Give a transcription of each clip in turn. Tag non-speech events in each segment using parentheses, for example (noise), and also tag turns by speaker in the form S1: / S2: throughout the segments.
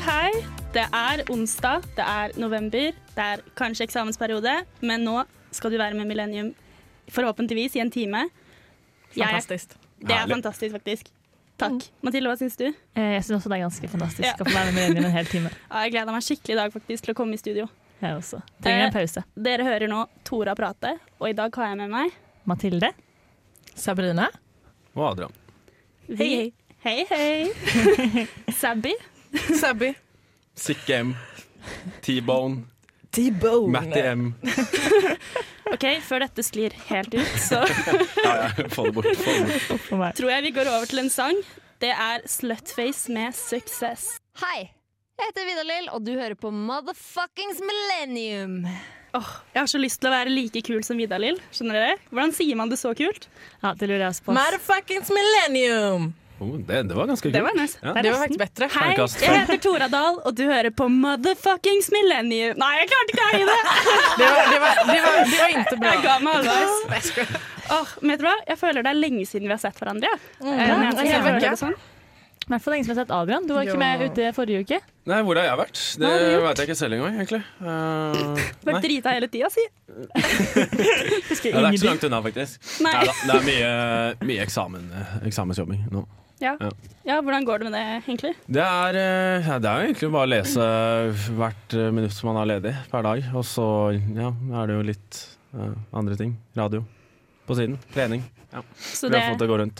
S1: hei. Det er onsdag, det er november, det er kanskje eksamensperiode, men nå skal du være med Millennium forhåpentligvis i en time. Jeg-
S2: Fantastisk.
S1: det er
S3: Herlig.
S1: fantastisk, faktisk. Takk. Mathilde, hva syns du?
S2: Eh, Jeg syns også det er ganske fantastisk
S1: Ja.
S2: å få være med Millennium en hel time.
S1: Ja, jeg gleder meg skikkelig i dag faktisk til å komme i studio.
S2: Jeg også. Trenger en pause.
S1: Dere hører nå Tora prate, og i dag har jeg med meg
S2: Mathilde?
S4: Sabrina? (laughs)
S3: Og Adrian.
S1: Hei, hei. hei. (laughs) Sabby.
S4: Sabby?
S3: Sick M. T-Bone.
S4: T-Bone.
S3: Matty M.
S1: OK, før dette sklir helt ut, så
S3: Ja, ja, få det bort. Få det bort.
S2: For meg.
S1: tror jeg vi går over til en sang. Det er Slutface med 'Success'.
S5: Hei! Jeg heter Vidar-Lill, og du hører på Motherfuckings Millennium.
S1: Åh, Jeg har så lyst til å være like kul som Vidar-Lill. Skjønner dere? Hvordan sier man det så kult?
S2: Ja, det lurer jeg også på. ass.
S4: Motherfuckings millennium!
S3: Oh, det, det var ganske
S1: Det
S3: kult.
S1: var nice.
S3: Ja.
S1: Det er
S4: Det var
S1: nesten.
S4: faktisk bedre.
S1: Hei,
S3: Terningkast.
S1: jeg heter Tora Dahl, og du hører på Motherfuckings Millennium. Nei, jeg klarte ikke å eie det!
S4: Det var, det var, det var, det var ikke bra.
S1: Jeg ga meg halvveis. Åh, men vet du hva? Jeg føler det er lenge siden vi har sett hverandre. (laughs) Ja.
S4: Mm.
S1: Eh, når jeg
S2: det er
S1: skal
S2: helt
S1: høre
S4: vekke.
S1: det sånn.
S2: I hvert fall lenge som jeg har sett Adrian. Du var
S4: Ja.
S2: ikke med ute forrige uke.
S3: Nei, hvor har jeg vært? Det
S2: Hva har du gjort?
S3: veit jeg ikke selv engang, egentlig. Eh,
S1: Vært drita hele tida, si.
S2: Husker
S3: ja, det er ikke så
S2: ingenting.
S3: langt unna, faktisk.
S1: Nei.
S3: Neida, det er mye, mye eksamen, eh, eksamensjobbing nå.
S1: Ja.
S3: Ja.
S1: ja, hvordan går det med det, egentlig?
S3: Det er, eh, ja, det er jo egentlig bare å lese hvert eh, minutt som man er ledig per dag. Og så ja, er det jo litt eh, andre ting. Radio på siden. Trening.
S1: Så
S3: Vi
S1: det,
S3: har fått det å gå rundt.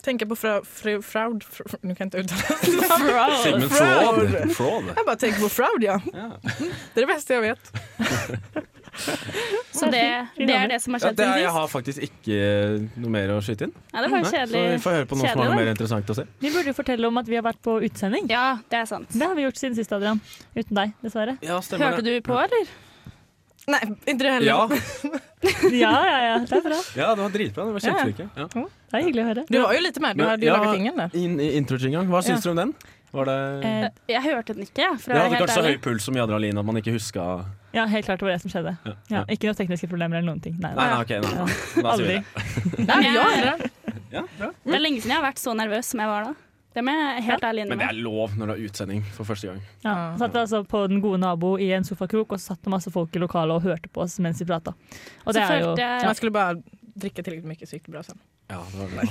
S4: Tenker på fra, fru Fraud fr, fr, Nå kan jeg ikke uttale det.
S1: (laughs)
S3: Sigmund
S4: Fraud.
S3: Fraud. Fraud.
S4: Jeg bare tenker på Fraud, ja.
S3: Ja.
S4: Det er det beste jeg vet.
S1: så det, det er det som har
S3: Ja,
S1: skjedd
S3: det er, jeg
S1: siden sist?
S3: har faktisk ikke noe mer å skyte inn.
S1: Ja, det var jo
S3: Nei, så vi
S1: kjedelig.
S3: får høre på noe som
S1: Kjedelig,
S3: er noe
S1: da.
S3: mer interessant å se.
S2: Vi burde jo fortelle om at vi har vært på utesending.
S1: Ja, det er sant.
S2: Det har vi gjort siden sist, Adrian. Uten deg, dessverre.
S3: Ja,
S1: Hørte du på, eller?
S4: Nei, ikke det heller.
S3: Ja,
S2: Ja, ja, ja. Det er bra.
S3: ja, det var dritbra. Det var
S4: Ja, ja.
S3: kjempeflinke. Ja.
S2: Det er hyggelig å høre.
S4: Du var jo litt med. Du
S3: Men-
S4: hadde jo
S3: ja.
S4: laget ingen der.
S3: Inn i introjinga. Hva syns
S4: Ja.
S3: dere om den? Var det
S2: Eh,
S1: Jeg hørte den ikke, jeg. for å
S3: Jeg
S1: være helt
S3: hadde kanskje så
S1: ærlig.
S3: høy puls som Jadralin at man ikke huska
S2: ja, helt klart det var det som skjedde.
S3: ja.
S2: Ja, ikke noen tekniske problemer eller noen ting. Nei,
S3: Nei, nei, ok. Nei.
S2: Ja.
S3: Da sier vi
S2: Aldri.
S3: det.
S4: Nei, men jeg
S1: Ja.
S4: hører det.
S3: Ja, bra.
S1: Det er lenge siden jeg har vært så nervøs som jeg var da. Det må jeg helt ærlig
S3: Men det
S1: innrømme.
S3: er lov når du har utsending for første gang.
S2: Ja. Satt altså på Den gode nabo i en sofakrok, og så satt det masse folk i lokalet og hørte på oss mens vi prata. Og det
S1: Så
S2: er jo
S1: følte jeg-
S2: ja.
S4: Man skulle bare drikke tillegg mye, så gikk det bra sen.
S3: Ja, det var det.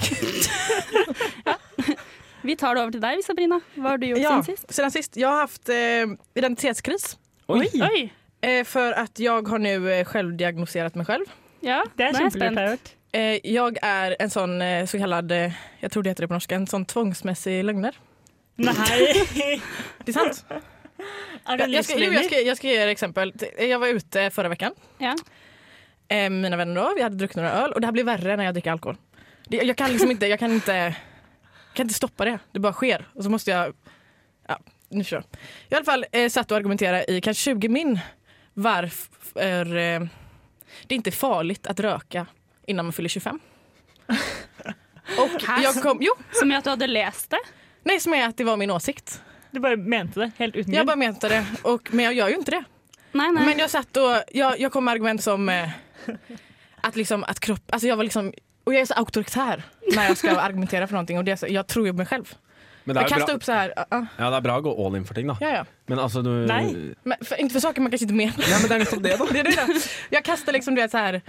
S1: Vi tar det over til deg, vi, Sabrina. Hva har du gjort
S4: Ja,
S1: siden sist?
S4: sedan sist. Jag har haft eh, identitetskris.
S3: Oi!
S1: (laughs) Oi!
S4: Eh, för att jag har nu eh, självdiagnoserat mig själv.
S1: Ja,
S2: Det er
S1: nå jeg
S2: kjempelurt jeg har gjort.
S4: Eh, jag är en sån eh, så kallad, eh, jag tror det heter det på norska, en sån tvångsmässig lögner.
S2: Nei!
S4: Det är sant.
S2: Er det
S4: jag, jag, ska, jo, jag,
S2: livsløgner?
S4: ska, jag ska ge er exempel. eh, Jag var ute förra veckan,
S1: Ja.
S4: eh, mina vänner då, vi hade druckit några öl och det här blir värre när jag dricker alkohol. Det, jag kan liksom inte, jag kan inte, kan inte stoppa det. Det bara sker. Och så måste jag, ja, nu kör jag. I alla fall eh, satt och argumenterade i kanske 20 min varför eh, det inte är farligt att röka innan man fyller 25. Och jag kom, jo,
S1: Som i at du hadde lest det?
S4: nej som är att det var min åsikt.
S2: Du bare mente det, helt uten
S4: Jag
S2: grunn.
S4: bara menade det, och, men jag gör ju inte det.
S1: Nei, nei.
S4: Men jag satt och, jag, jag kom med argument som eh, att liksom att kropp, alltså jag var liksom och jag är så auktoritär när jag ska argumentera för någonting och det är så, jag tror ju på mig själv.
S3: Men det
S4: Jag
S3: er, jo
S4: kastar
S3: bra,
S4: upp så här, ah, ah,
S3: ja, det er bra å gå all in for ting, da.
S4: ja ja.
S3: Men altså, du
S2: Nei.
S3: Ja,
S4: Men för, inte för saker man kanske inte menar.
S3: men det er nettopp det, da.
S4: (laughs) Det är det där. Jag kastar liksom du vet så här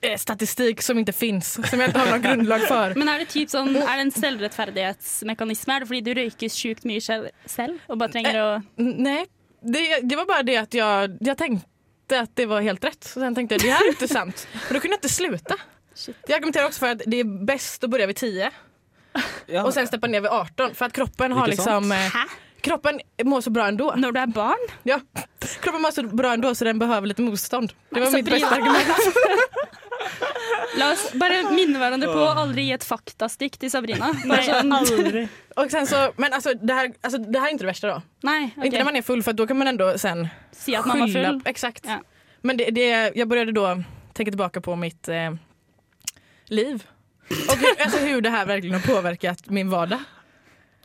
S4: eh, statistik som inte finns, som jag inte har någon grundlag för.
S1: Men er det typ sånn, er det en selvrettferdighetsmekanisme? Er det fordi du røyker sjukt mye selv, selv og bare trenger
S3: Eh.
S1: å
S4: N- Nej, det, det var bara det att jag, jag tänkte att det var helt rätt. Så sen tänkte jag det här är inte sant. Men då kunde jag inte sluta.
S1: Shit.
S4: Jag argumenterar också för att det är bäst att börja vid 10.
S3: Ja.
S4: Och sen steppa ner vid 18 för att kroppen har
S3: Inte sant?
S4: liksom eh,
S1: Hæ?
S4: kroppen mår så bra ändå.
S1: Når du er barn?
S4: Ja. Kroppen mår så bra ändå så den behöver lite motstånd. Det var
S1: Nei,
S4: mitt
S1: Sabrina.
S4: bästa argument.
S1: Altså, (laughs) La oss bare minne hverandre på å aldri gi et faktastikk til Sabrina. Bare sånn,
S2: Aldri.
S4: Och sen så, men alltså det, här, alltså det här är inte det värsta då.
S1: nei,
S4: Inte när
S1: ok.
S4: man är full för att då kan man ändå sen
S1: Si at man var full.
S4: Exakt.
S1: Ja.
S4: Men det, det, jag började då tänka tillbaka på mitt eh, liv. Och hur, alltså hur det här verkligen har påverkat min vardag.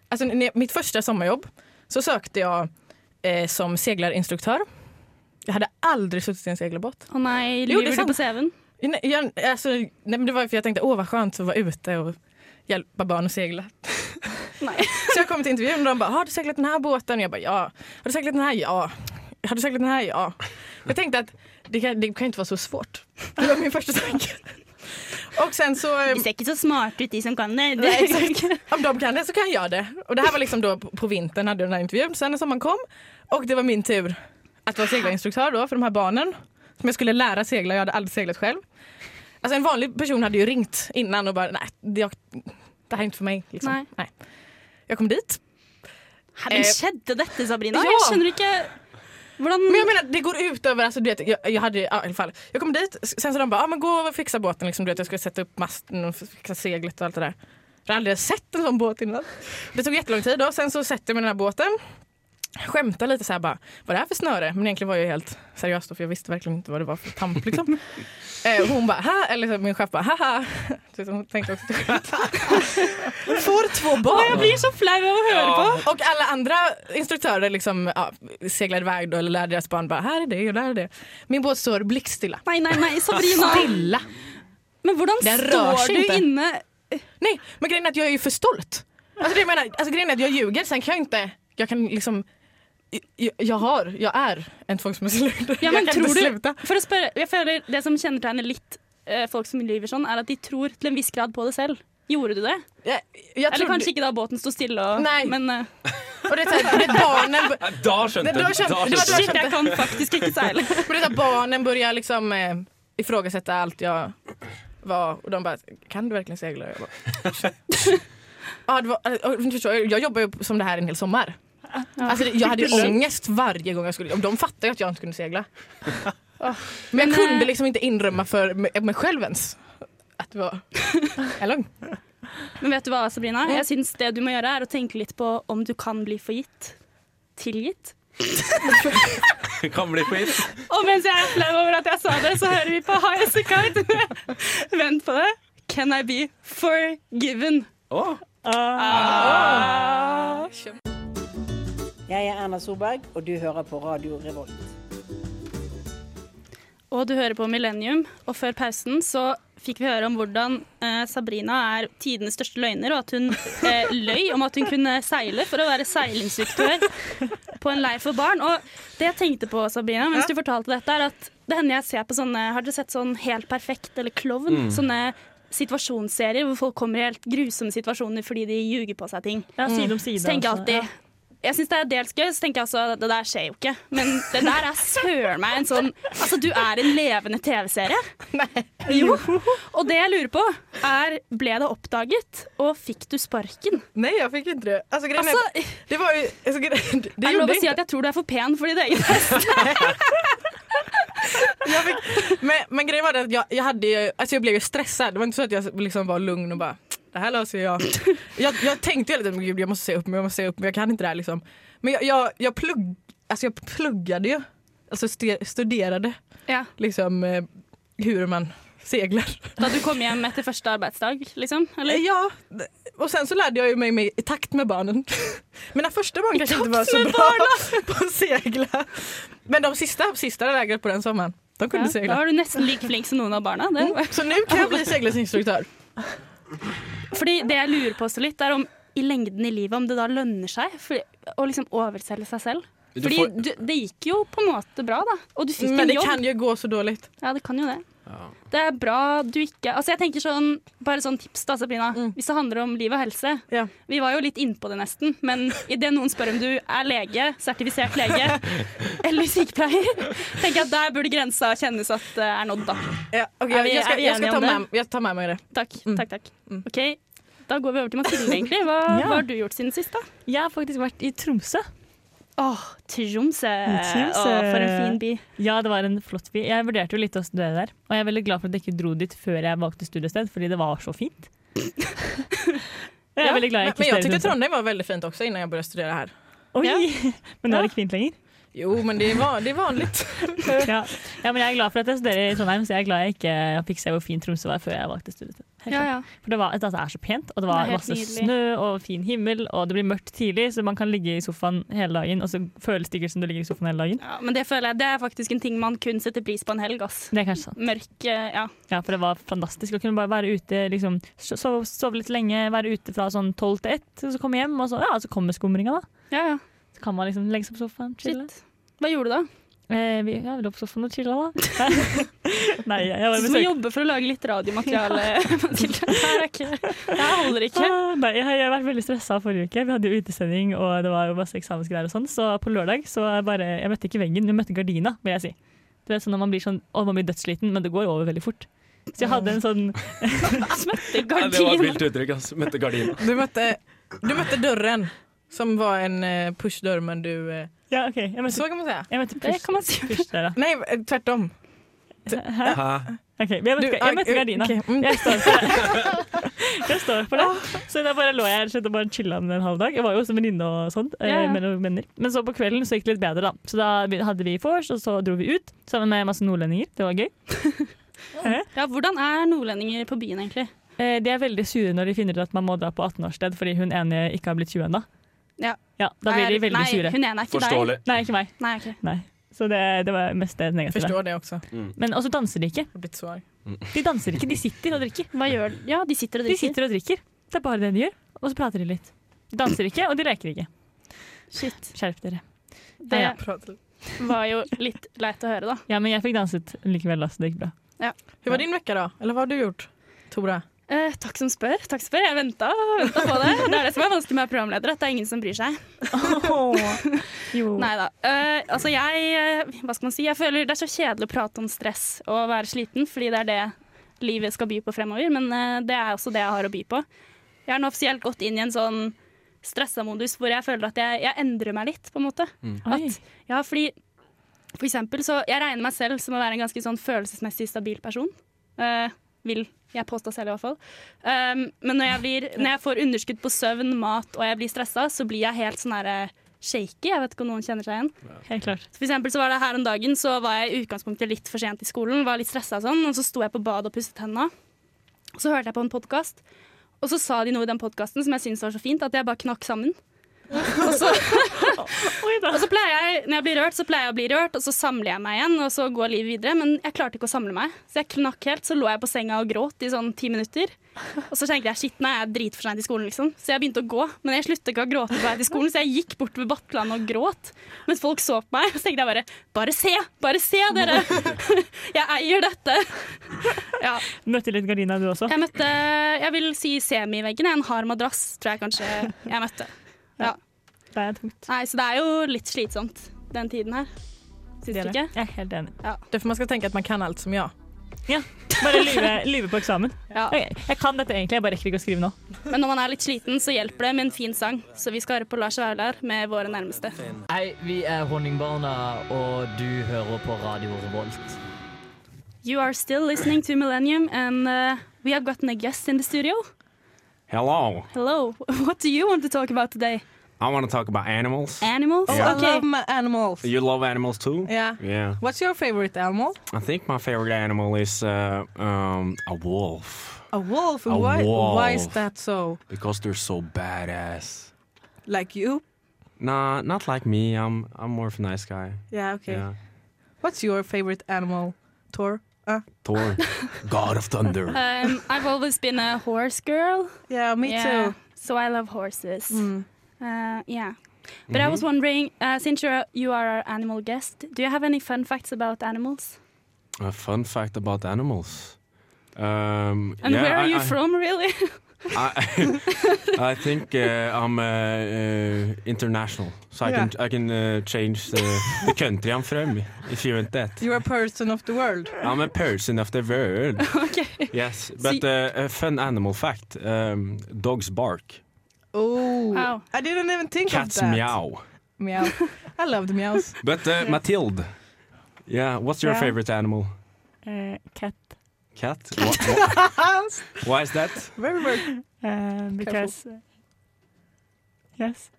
S4: Alltså, när, mitt första sommarjobb så sökte jag eh, som seglarinstruktör. Jag hade aldrig suttit i en segelbåt.
S1: Å nei,
S4: Jo, det er
S1: lyver du
S4: sant.
S1: på CV-en?
S4: Nej, Jag, alltså, nej, men det var ju för jag tänkte åh vad skönt att vara ute och hjälpa barn att segla.
S1: Nei.
S4: Så jag kommer till intervjun och de bara, har du seglat den här båten? Och jag bara, ja. Har du seglat den här? Ja. Har du seglat den här? Ja. Jag tänkte att det kan, det kan ju inte vara så svårt. Det var min första tanke. Och sen så, eh,
S1: De ser ikke så smarte ut, de som kan det. (laughs)
S4: Nei, om de kan det så kan jag det. Och det här var liksom då på, på vintern hade jag den här intervjun. Sen när sommaren kom och det var min tur att vara seglarinstruktör då för de här barnen. Som jag skulle lära segla, jag hade aldrig seglat själv. Alltså en vanlig person hade ju ringt innan och bara, nej, det, jag, det här är inte för mig. Liksom.
S1: Nej.
S4: nej. Jag kom dit.
S1: Hæ, Men skjedde dette, Sabrina?
S4: Eh, Ja.
S1: Jeg skjønner ikke hvordan
S4: Men jag menar, det går ut över, alltså, du vet, jag, jag hade, ja, i alla fall. Jag kom dit, s- sen så de bara, ah, men gå och fixa båten liksom, du vet, jag skulle sätta upp masten och fixa seglet och allt det där. Jag har aldrig sett en sån båt innan. Det tog jättelång tid då, sen så sätter jag mig i den här båten. Skämtar lite så här bara, vad är det här för snöre? Men egentligen var jag helt seriös då, för jag visste verkligen inte vad det var för tamp (laughs) liksom. eh, och hon bara, ha, eller så min chef bara, haha. Så Hon tänkte (laughs) också att jag skämtade. Får två barn.
S1: Jeg blir så flau av å høre på!
S4: Och alla andra instruktörer liksom, ja, seglade iväg då, eller lärde deras barn bara här är det och där är det. Min båt står blickstilla.
S1: Nei, nei, nei, Sabrina.
S4: Stilla.
S1: Men hvordan
S4: Den rör
S1: står
S4: sig
S1: du
S4: inte.
S1: inne
S4: Nej, men grejen är att jag är ju för stolt. Alltså, det altså, jag menar, alltså, grejen är att jag ljuger, sen kan jag inte, jag kan liksom jag, jag har, jeg er en tvangsløgner.
S1: Ja, men
S4: jeg kan
S1: tror
S4: ikke
S1: du
S4: slutte.
S1: For å spørre, jeg føler Det som kjennetegner litt eh, folk som lyver sånn, er at de tror til en viss grad på det selv. Gjorde du det?
S4: Jeg, jeg
S1: Eller
S4: trodde-
S1: kanskje ikke da båten sto stille og
S4: Nei.
S1: Men eh,
S4: Og det, er sånn, det er barnen,
S3: Nei, Da skjønte
S4: Det- da
S3: jeg.
S4: skjønte-
S3: Da
S4: det var-
S3: skjønte jeg.
S1: shit, jeg kan faktisk ikke seile.
S4: (laughs) Men det är så här, barnen börjar liksom eh, ifrågasätta allt jag var och de bara kan du verkligen segla? Jag bara, (laughs) ja, det var, eh, du förstår, jag jobbar ju som det här en hel sommar. Alltså, det- jag hade ju ångest varje gång jag skulle. De fattade ju att jag inte kunde (laughs) segla. Ah. Men jag
S1: Men,
S4: kunde
S1: eh,
S4: liksom inte inrömma för mig mig själv ens att det var (laughs) jag är lugn.
S1: Men vet du hva, Sabrina? Jeg syns det du må gjøre, er å tenke litt på om du kan bli forgitt. Tilgitt.
S3: Kan bli quiz.
S1: Og mens jeg er flau over at jeg sa det, så hører vi på Highest Card. (laughs) Vent på det. Can I be forgiven?
S3: Å,
S6: Jeg er Erna Solberg, og du hører på Radio Revolt.
S1: Og du hører på Millennium, og før pausen så fikk vi høre om hvordan eh, Sabrina er tidenes største løgner, og at hun eh, løy om at hun kunne seile for å være seilinstruktør på en leir for barn. Og det jeg tenkte på, Sabrina, mens du fortalte dette, er at det hender jeg ser på sånne Har dere sett sånn Helt perfekt eller Klovn? Sånne situasjonsserier hvor folk kommer i helt grusomme situasjoner fordi de ljuger på seg ting.
S2: Ja, side om side.
S1: Så tenker jeg
S2: altså. Ja.
S1: Mm. alltid Jeg syns det er dels gøy, så tenker jeg også det der skjer jo ikke. Men det der er søren meg en sånn Altså, du er en levende TV-serie. Jo. Og det jeg lurer på, er ble det oppdaget, och fikk du sparken?
S4: Nej jag fick inte det. Alltså, grejen är-
S1: Altså,
S4: det var ju... Alltså, grejen, (laughs) det
S1: er det lov å
S4: gjorde
S1: si
S4: inte-
S1: at jeg tror du er for pen for ditt eget?
S4: jag fick, men, men grejen var det att jag, jag, hade ju, alltså jag blev ju stressad. Det var inte så att jag liksom var lugn och bara det här
S1: (laughs)
S4: löser jag. jag. Jag tänkte ju lite men gud jag måste se upp mig, jag måste se upp mig, jag kan inte det här liksom. Men jag, jag, jag, plugg, alltså jag pluggade ju, alltså ste- studerade
S1: Ja.
S4: liksom eh, hur man seglar.
S1: Da du kom hjem etter første arbeidsdag, liksom? Eller?
S4: Ja, och sen så lärde jag ju mig, mig i takt med barnen. (laughs) Mina första barn kanske inte var så bra (laughs) på att segla. Men de sista, sista lägret på den sommaren, de kunde
S1: Ja,
S4: segla.
S1: da var du nesten like flink som noen av barna. Det. var-
S4: Så nu kan jag bli seglingsinstruktör.
S1: Fordi det jeg lurer på så litt, er om i lengden i livet om det da lønner seg for, å liksom overselge seg selv.
S3: Du
S1: Fordi
S3: får-
S1: du, det gikk jo på en måte bra, da. Og du fikk
S4: Men
S1: en
S4: det
S1: jobb.
S4: kan ju gå så dåligt.
S1: Ja, det kan jo det.
S3: Ja.
S1: Det er bra du ikke Altså, jeg tenker sånn Bare sånn tips, da, Sabrina. Hvis det handler om liv og helse.
S4: Ja.
S1: Vi var jo litt innpå det, nesten. Men idet noen spør om du er lege, sertifisert lege eller sykepleier, tenker jeg at der burde grensa kjennes at det er nådd, da.
S4: Ja, okej,
S1: Är vi-
S4: jag, jag,
S1: är
S4: ska,
S1: vi
S4: jag, ska
S1: eniga
S4: ta
S1: om
S4: med, jag tar med mig det.
S1: Takk, takk, takk. OK, da går vi over til Mathilde, egentlig. Hva,
S2: Ja.
S1: hva har du gjort siden sist, da?
S2: Jeg har faktisk vært i Tromsø.
S1: Åh, Tromsø.
S2: Tromsø.
S1: Åh, for en fin by.
S2: Ja, det var en flott by. Jeg vurderte jo litt å studere der. Og jeg er veldig glad for at jeg ikke dro dit før jeg valgte studiested, fordi det var så
S1: (laughs)
S2: fint. jeg er veldig
S4: Men, men
S2: glad jeg ikke
S4: jag
S2: studerer i
S4: tyckte
S2: Tromsø.
S4: Trondheim var väldigt fint också innan jag började studera här.
S2: Oi! (laughs)
S1: Ja.
S2: Men nå er det ikke fint lenger.
S4: Jo, men det är, van, det är vanligt.
S2: Ja. ja, men jeg er glad for at jeg studerer i Trondheim, så jeg er glad jeg ikke fikk se hvor fin Tromsø var før jeg valgte studiested. Helt
S1: Ja,
S2: klart.
S1: ja.
S2: For det, var, altså, det er så pent, og
S1: Det
S2: det var
S1: er helt
S2: masse
S1: nydelig.
S2: snø og fin himmel, og det blir mørkt tidlig, så man kan ligge i sofaen hele dagen, og så føles det ikke som du ligger i sofaen hele dagen.
S1: ja. Men det føler jeg det er faktisk en ting man kun setter pris på en helg. ass.
S2: Det er kanskje sant.
S1: Mørk, eh, ja.
S2: Ja, for det var fantastisk å kunne bare være ute, liksom, so- sove, sove litt lenge, være ute fra sånn tolv til ett, og så komme hjem, og så, ja, så kommer skumringa, da.
S1: ja, ja.
S2: Så kan man liksom legge seg på sofaen, chille.
S1: Shit. Hva gjorde du da?
S2: Eh, vi, ja, vi lå på sofaen og chilla, da. (laughs) Nei, jeg var
S1: Du må jobbe for å lage litt (laughs) radiomateriale. Mathilde. Det her er ikke, det her holder ikke.
S2: Ah, Nei, jeg har jeg har vært veldig stressa forrige uke. Vi hadde jo utesending og det var jo masse eksamensgreier og sånn. Så på lørdag så jeg bare Jeg møtte ikke veggen, men jeg møtte gardina, vil jeg si. Du vet sånn når man blir sånn Å, man blir dødssliten, men det går over veldig fort. Så jeg hadde en sånn
S1: Smøtte
S3: Nei, det var et
S1: gardin.
S3: vilt uttrykk. Altså.
S1: (laughs)
S3: Mette gardina.
S4: (laughs) Du mötte, du mötte dörren som var en eh, pushdörr men du... eh,
S2: Ja, OK. Jeg møtte,
S4: Så kan man säga.
S2: jeg møtte
S1: Det kan man si.
S2: push der, da.
S4: Nej, eh, tvärtom.
S2: Hæ?
S3: Hæ?
S2: OK. Men jeg
S4: Du,
S2: møtte,
S4: ah,
S2: jeg møtte gardina.
S4: okej, mm.
S1: (laughs)
S2: Jeg står for det. Jeg står for
S1: Ah.
S2: det. Så da bare lå jeg rett og slett og bare chilla med en halv dag. Jeg var jo også venninne og sånt. eh,
S1: Ja, ja.
S2: Med noen venner. Men så på kvelden så gikk det litt bedre, da. Så da vi- hadde vi vors, og så dro vi ut sammen med masse nordlendinger. Det var gøy.
S1: Ja, hvordan er nordlendinger på byen, egentlig?
S2: Eh, De er veldig sure når de finner ut at man må dra på 18-årssted fordi hun ene ikke har blitt 20 ennå.
S1: Ja.
S2: da blir de
S1: Er-
S2: veldig
S1: nei,
S2: sure.
S1: Hun ene er ikke
S3: Forståelig.
S2: Nei, ikke meg.
S1: deg. Nei, ok.
S2: Nei. Så det, det var mest det
S4: Jag
S2: negative.
S4: förstår det också.
S2: Men også danser de ikke.
S4: Jag har blivit så arg.
S2: De danser ikke, de sitter og drikker.
S1: Hva gjør Ja, de sitter og
S2: De
S1: drikker.
S2: sitter og drikker. Det er bare det de gjør. Og så prater de litt. De danser ikke, og de leker ikke.
S1: Shit.
S2: Skjerp dere.
S1: Det
S2: Ja,
S4: Pratar-
S1: var jo litt leit å høre, da.
S2: Ja, men jeg fikk danset likevel, altså. Det gikk bra.
S4: Hur var din vecka då? Eller vad har du gjort? Tora?
S1: Eh, takk som spør. takk som spør. Jeg venta på det. Det er det som er vanskelig med å være programleder, at det er ingen som bryr seg.
S2: Jo.
S1: (laughs) Nei da. altså jeg eh, Hva skal man si? Jeg føler det er så kjedelig å prate om stress og være sliten, fordi det er det livet skal by på fremover. Men eh, det er også det jeg har å by på. Jeg har nå offisielt gått inn i en sånn stressa modus hvor jeg føler at jeg, jeg endrer meg litt, på en måte.
S2: Oi.
S1: Ja, fordi for eksempel så Jeg regner meg selv som å være en ganske sånn følelsesmessig stabil person. Eh, vil jeg påstå selv, i hvert fall. Um, men når jeg, blir, når jeg får underskudd på søvn, mat og jeg blir stressa, så blir jeg helt sånn herre shaky. Jeg vet ikke om noen kjenner seg igjen.
S2: Helt klart.
S1: For eksempel så var det her om dagen, så var jeg i utgangspunktet litt for sent i skolen, var litt stresset og sånn, og så sto jeg på bad og pusset hendene. Og så hørte jeg på en podcast, og så sa de noe i den podcasten som jeg syntes var så fint, at jeg bare knakk sammen. Og så,
S2: (laughs) Oi da.
S1: og så pleier jeg, når jeg blir rørt, så pleier jeg å bli rørt, og så samler jeg meg igjen, og så går livet videre, men jeg klarte ikke å samle meg. Så jeg knakk helt, så lå jeg på senga og gråt i sånn ti minutter. Og så tenkte jeg, shit, nei, jeg er drit for sent i skolen, liksom. Så jeg begynte å gå, men jeg sluttet ikke å gråte på vei til skolen, så jeg gikk bort ved Battland og gråt. Mens folk så på meg, så tenkte jeg bare Bare se! Bare se, dere!
S2: (laughs)
S1: Jeg eier dette! Ja.
S2: Møtte litt gardina, du også.
S1: Jeg møtte Jeg vil si semiveggen. En hard madrass, tror jeg kanskje jeg møtte. Ja.
S2: Det er tungt.
S1: Nei, så det er jo litt slitsomt den tiden her. Syns
S2: Det
S1: du
S2: er
S1: ikke?
S2: det. Jeg er helt enig.
S4: Därför man ska tänka att man kan allt som jag.
S2: Bare lyve, lyve på eksamen.
S1: Ja.
S2: Ok, Jeg kan dette egentlig, jeg bare rekker ikke å skrive nå.
S1: Men når man er litt sliten, så hjelper det med en fin sang. Så vi skal høre på Lars Vaular med 'Våre nærmeste'.
S7: Hei, vi er Honningbarna, og du hører på Radio Revolt.
S1: You are still listening to Millennium, and uh, we have gotten a guest in the studio.
S3: Hello.
S1: Hello. (laughs) What do you want to talk about today?
S3: I want to talk about animals.
S1: Animals?
S2: Oh,
S3: Yeah.
S1: Okay.
S4: Oh, my animals.
S3: You love animals too?
S4: Yeah.
S3: Yeah.
S4: What's your favorite animal?
S3: I think my favorite animal is uh, um, a wolf
S4: A wolf.
S3: A
S4: why, why is
S3: wolf.
S4: that so?
S3: because they're so badass.
S4: Like you?
S3: Nah, not like me. I'm I'm more of a nice guy.
S4: Yeah, okay.
S3: Yeah.
S4: What's your favorite animal, Tor?
S1: (laughs)
S3: Thor, God of Thunder.
S1: Um, I've always been a horse girl.
S4: Yeah, me
S1: yeah. So I love horses.
S4: Mm.
S1: Uh, yeah. But
S3: Mm-hmm.
S1: I was wondering, uh, since you're, you are our animal guest, do you have any fun facts about animals?
S3: Mm-hmm. A fun fact about animals. Um,
S1: And
S3: yeah,
S1: where are
S3: I-
S1: you
S3: I-
S1: from, really?
S3: I, (laughs) I think uh, I'm uh, uh, international, so I can I can uh, change the, the country I'm from if you want that.
S4: You're a person of the world.
S3: I'm a person of the world.
S1: okay.
S3: Yes, but uh, a fun animal fact: um, dogs bark,
S4: Oh,
S1: Wow.
S4: I didn't even think of
S3: cats
S4: that.
S3: meow.
S4: Meow. I loved meows.
S3: But uh, Mathilde, yeah, what's your
S2: Yeah.
S3: favorite animal?
S2: Eh, cat.
S3: Cat. Wha- wha- why is that?
S4: Very very.
S2: eh, because Yes.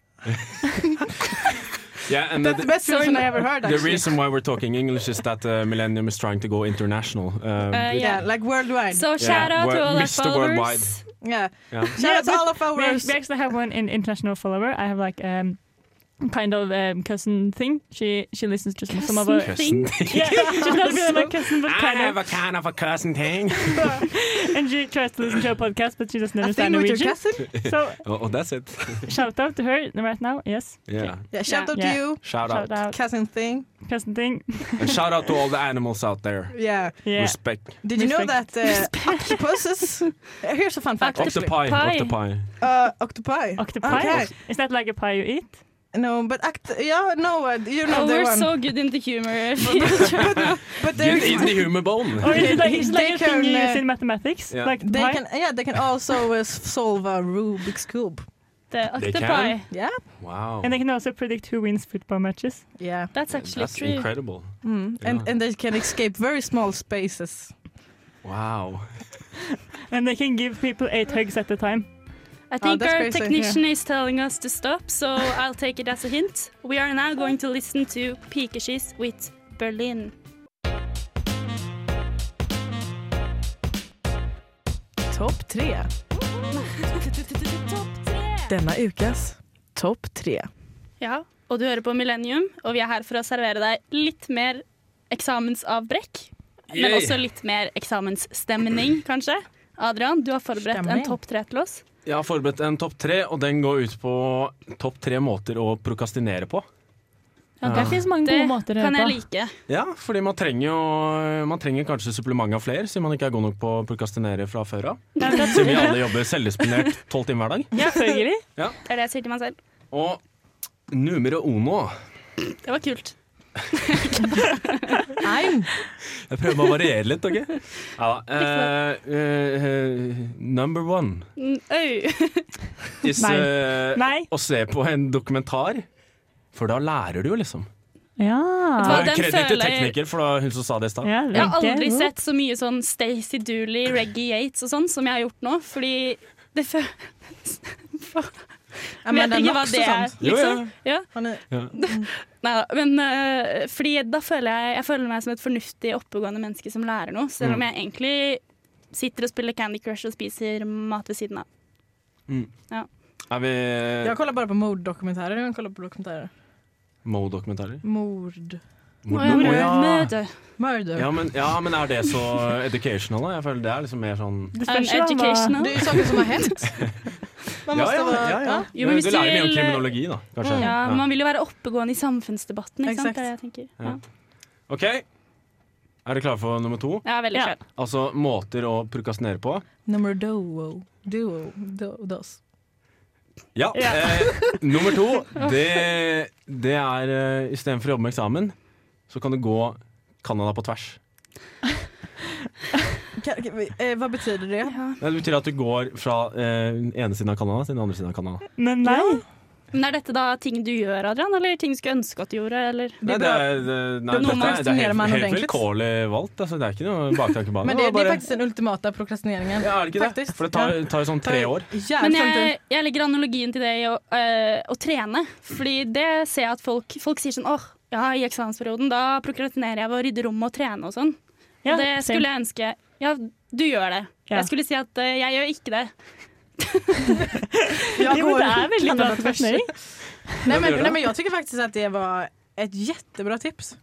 S3: Yeah, and
S4: That's the
S3: the,
S4: best version I ever heard,
S3: the
S4: actually.
S3: reason why we're talking English is that uh, Millennium is trying to go international. Um,
S1: Uh,
S4: Yeah, like worldwide.
S1: (laughs) So shout out to
S3: well,
S1: all our
S3: Mr. Worldwide.
S1: followers.
S4: yeah.
S3: yeah.
S4: Shout out to
S2: but
S4: all of
S2: We,
S4: our... uh,
S2: act- we actually have one in international follower. I have like um, kind of um, cousin thing. She she listens to some of our.
S3: Cousin thing.
S2: Yeah, she's not really my cousin, but
S3: I
S2: kind of.
S3: have a kind of a cousin thing.
S2: And she tries to listen to our podcast, but she doesn't
S4: A
S2: understand
S4: thing with your
S2: Norwegian.
S4: cousin?
S2: So
S3: (laughs) oh, oh, that's it.
S2: shout out to her right now. Yes,
S3: Yeah.
S4: Yeah, shout out
S2: Yeah.
S4: to you.
S3: Shout,
S2: shout
S3: out.
S2: out
S4: Cousin thing.
S2: cousin thing.
S3: And shout out to all the animals out there.
S4: Yeah.
S2: Yeah,
S3: Respect.
S4: Did you know
S2: Respect.
S4: that uh, octopuses? Uh, Here's a fun fact. actually.
S3: Octopi.
S1: Pie.
S3: Octopi.
S4: Uh, octopi.
S2: octopi.
S4: Okay.
S2: Is that like a pie you eat?
S4: No, but act- yeah, no, uh, you know
S1: Oh,
S4: the
S1: we're
S4: one.
S1: so good in the (laughs) humor.
S3: (laughs)
S4: but
S3: You
S4: they're-
S3: eat
S2: (laughs)
S3: the human bone.
S2: Or is it like, is it like
S4: They
S2: a thing you
S4: can,
S2: use
S4: uh,
S2: in mathematics?
S3: Yeah.
S2: Like the
S4: they
S2: pie?
S4: can, yeah, they can also uh, s- solve a Rubik's cube.
S1: The
S3: They
S1: octopi.
S3: can.
S4: Yeah,
S3: (laughs) Wow.
S2: And they can also predict who wins football matches.
S4: yeah,
S1: That's actually
S3: That's
S1: true.
S3: incredible.
S4: mm. and
S3: Yeah.
S4: and they can escape very small spaces.
S3: Wow.
S2: And they can give people eight hugs at a time.
S1: I think
S4: that's
S1: our
S4: crazy,
S1: technician is telling us to stop, so I'll take it as a hint. We are now going to listen to Pikesky's with (laughs) Berlin.
S4: Topp tre. Denna ukas topp tre.
S1: Ja, og du hører på Millennium, og vi er her for å servere deg litt mer eksamensavbrekk. Men
S3: Yay.
S1: også litt mer eksamensstemning, kanskje. Adrian, du har forberedt en
S4: Stemning.
S1: topp tre til oss.
S3: Jeg har forberedt en topp tre, og den går ut på topp tre måter å prokastinere på.
S2: Ja,
S3: Ah.
S2: det finnes mange
S1: Det
S2: gode måter å
S1: kan
S2: gjøre
S1: jeg
S2: på.
S1: like.
S3: Ja, fordi man trenger jo Man trenger kanskje supplement av flere, siden man ikke er god nok på å prokastinere fra før av.
S2: Ja, det-
S3: Siden vi alle
S2: (laughs)
S3: jobber selvdisponert tolv timer hver dag.
S2: Selvfølgelig.
S1: Det er det jeg sier til meg selv.
S3: Og numero uno
S1: Det var kult.
S4: I'm
S3: Jeg prøver bare å variere litt, OK? (laughs) Ja, eh, eh, eh, number one
S1: Mm, Øy.
S3: is
S2: Nei.
S3: eh,
S2: Nei.
S3: å se på en dokumentar, for da lærer du jo, liksom.
S2: Ja.
S1: Hva,
S3: Og
S1: den
S3: Kreditt til
S1: føler jeg-
S3: tekniker, for det var hun som sa det i stad.
S2: ja
S1: Jeg har
S2: Wenche.
S1: aldri sett så mye sånn Stacey Dooley, Reggie Yates og sånn som jeg har gjort nå, fordi det fø... Vet
S4: Amanda
S1: ikke hva
S4: Knox
S1: det
S4: och
S1: er,
S4: sånt.
S3: Jo, ja.
S1: liksom. Ja.
S4: Har ni-
S1: Nei da. Men øh, fordi da føler jeg Jeg føler meg som et fornuftig, oppegående menneske som lærer noe, selv
S3: Mm.
S1: om jeg egentlig sitter og spiller Candy Crush og spiser mat ved siden av.
S3: Er vi eh,
S4: Jag kollar bara på morddokumentärer. Jag kollar på dokumentärer.
S3: Mo-dokumentarer?
S4: Mord.
S1: Å, jeg
S3: Mo-
S1: må
S3: ja.
S1: møte.
S4: Murder.
S3: Ja men, ja, men er det så educational, da? Jeg føler det er liksom mer sånn
S2: Det
S1: An
S2: spørs jo om hva-
S1: educational.
S4: Det är ju saker som har
S3: (laughs)
S4: hänt. Man måste vara...
S1: Jo,
S3: men
S1: men
S3: du
S1: hvis
S3: lærer
S1: du
S3: mye om
S1: vil-
S3: kriminologi, da, kanskje.
S1: Ja,
S3: Ja.
S1: men man vil jo være oppegående i samfunnsdebatten, ikke sant?
S4: Exakt.
S1: Det er det jeg tenker. Ja,
S3: OK. Er dere klare for nummer to?
S1: jeg er veldig
S2: Ja.
S1: klar.
S3: Altså måter å prokastinere på.
S4: Nummer duo. Duo. Do, dos.
S3: Ja. Eh, nummer to, det, det er eh, istedenfor å jobbe med eksamen, så kan du gå Canada på tvers.
S4: Kan, kan, vi- eh, vad betyder det?
S3: Nei, Det betyr at du går fra eh, den ene siden av Canada til den andre siden av Canada.
S2: Men nei.
S1: Men er dette da ting du gjør, Adrian, eller ting du skulle ønske at du gjorde, eller?
S4: Det
S3: Nei,
S4: är
S3: det
S4: bra.
S3: er, det, nei,
S4: Det er noe man
S3: dette er, det er
S4: stimulerer man
S3: helt, helt
S4: ordentlig.
S3: vilkårlig valgt. Altså, det er ikke noe baktanke bak
S4: Men det, det
S3: bare-
S4: är faktiskt den ultimata prokrastineringen.
S3: ja, er det ikke det?
S4: Faktiskt.
S3: For det tar, tar jo sånn tre år.
S1: Men
S4: Jävligt lång tid.
S1: jeg, jeg legger analogien til det i å, øh, å trene. Fordi det ser jeg at folk, folk sier sånn åh, ja, i eksamensperioden da prokrastinerer jeg ved å rydde rommet og trene og sånn.
S2: Ja,
S1: og det
S2: same.
S1: skulle jeg ønske Ja, du gjør det.
S2: Ja.
S1: Jeg skulle si at øh, jeg gjør ikke det.
S4: Jag
S2: Jo, men
S4: går
S2: det er veldig bra
S4: Canada på tvärs.
S2: prokrastinering.
S4: Nej,
S3: Vad gör
S4: men,
S3: du?
S4: nej, men jag tycker faktiskt att det var ett jättebra (laughs) tips.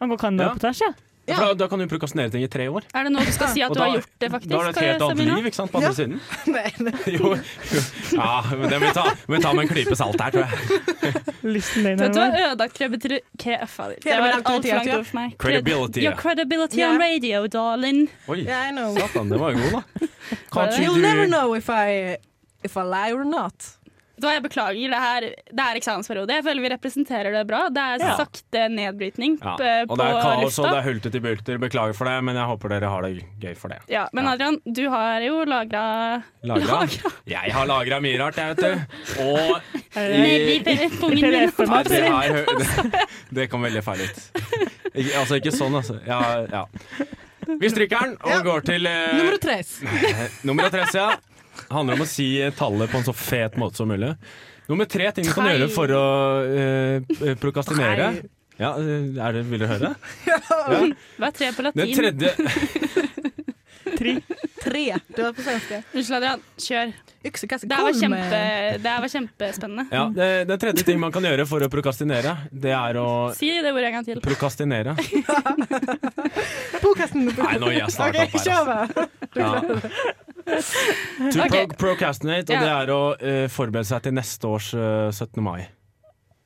S2: Han går Canada
S3: Ja.
S2: på tvers, ja.
S4: Ja.
S3: For da, da kan du prokastinere ting i tre år.
S1: Er det nå du skal si at
S3: (laughs) Og
S1: du
S3: da-
S1: har gjort det, faktisk?
S3: Da har du et helt annet
S1: Sabrina?
S3: liv ikke sant, på andre
S4: Ja.
S3: siden. (laughs)
S4: nej, nej.
S3: Jo, jo. Ja, men det må vi ta, må vi ta med en klype salt her, tror jeg.
S2: Lysten din
S1: Vet du hva,
S2: er
S1: ødelagt kredibil- kre- fader, Det
S4: Hele
S1: var
S4: min
S1: et altfor
S4: autoritet,
S1: langt
S4: ja.
S1: ord for meg.
S3: Credibility, ja.
S1: Your credibility
S4: Ja.
S1: on radio, darling.
S3: Oi,
S4: Yeah, I know.
S3: satan, det var jo god, da. Kanskje
S4: You'll never
S3: du
S4: know if I, if I lie or not.
S1: Da jeg beklager, det, her, det er eksamensperiode. Jeg føler vi representerer det bra. Det er
S3: Ja.
S1: sakte nedbrytning
S3: ja.
S1: p- på
S3: Og det er kaos og det
S1: lufta.
S3: er hultet i bulter. Beklager for det, men jeg håper dere har det gøy for det.
S1: Ja, men
S3: Ja.
S1: Adrian, du har jo lagra (laughs)
S3: Lagra? Jeg har lagra mye rart,
S4: (laughs)
S3: jeg, vet du. Og
S1: Nedi
S3: i-
S1: pungen min.
S2: PDF-en
S3: Nei, det, er, hø- (laughs) det, det kom veldig feil ut. Ikke- Altså ikke sånn, altså. Ja, ja. Vi stryker den og går til eh,
S4: Nummer tre.
S3: (laughs) Nummer tre, ja. handler om å si tallet på en så fet måte som mulig. Nummer tre ting du kan gjøre for å eh, prokastinere.
S4: Nei.
S3: Ja, eh, er det, Vil
S4: (laughs)
S3: du høre?
S1: Hva er tre på
S3: Den
S1: latin?
S3: tredje
S2: Tre.
S4: Tre. Det var på svenska.
S1: Unnskyld, Adrian. Kjør.
S4: Yxekasse
S1: Det her var, kjempe, det her var kjempespennende.
S3: Ja, det, det tredje ting man kan gjøre for å prokastinere, det er å
S1: Si det ordet en gang til.
S3: prokastinere.
S4: Podkasten.
S3: Nei, nå er jeg snart opp her.
S4: kjør
S3: Altså.
S4: da.
S3: Ja. To
S1: Ok.
S3: pro procrastinate, og det
S1: Ja.
S3: er å eh, forberede seg til neste års eh, 17. mai.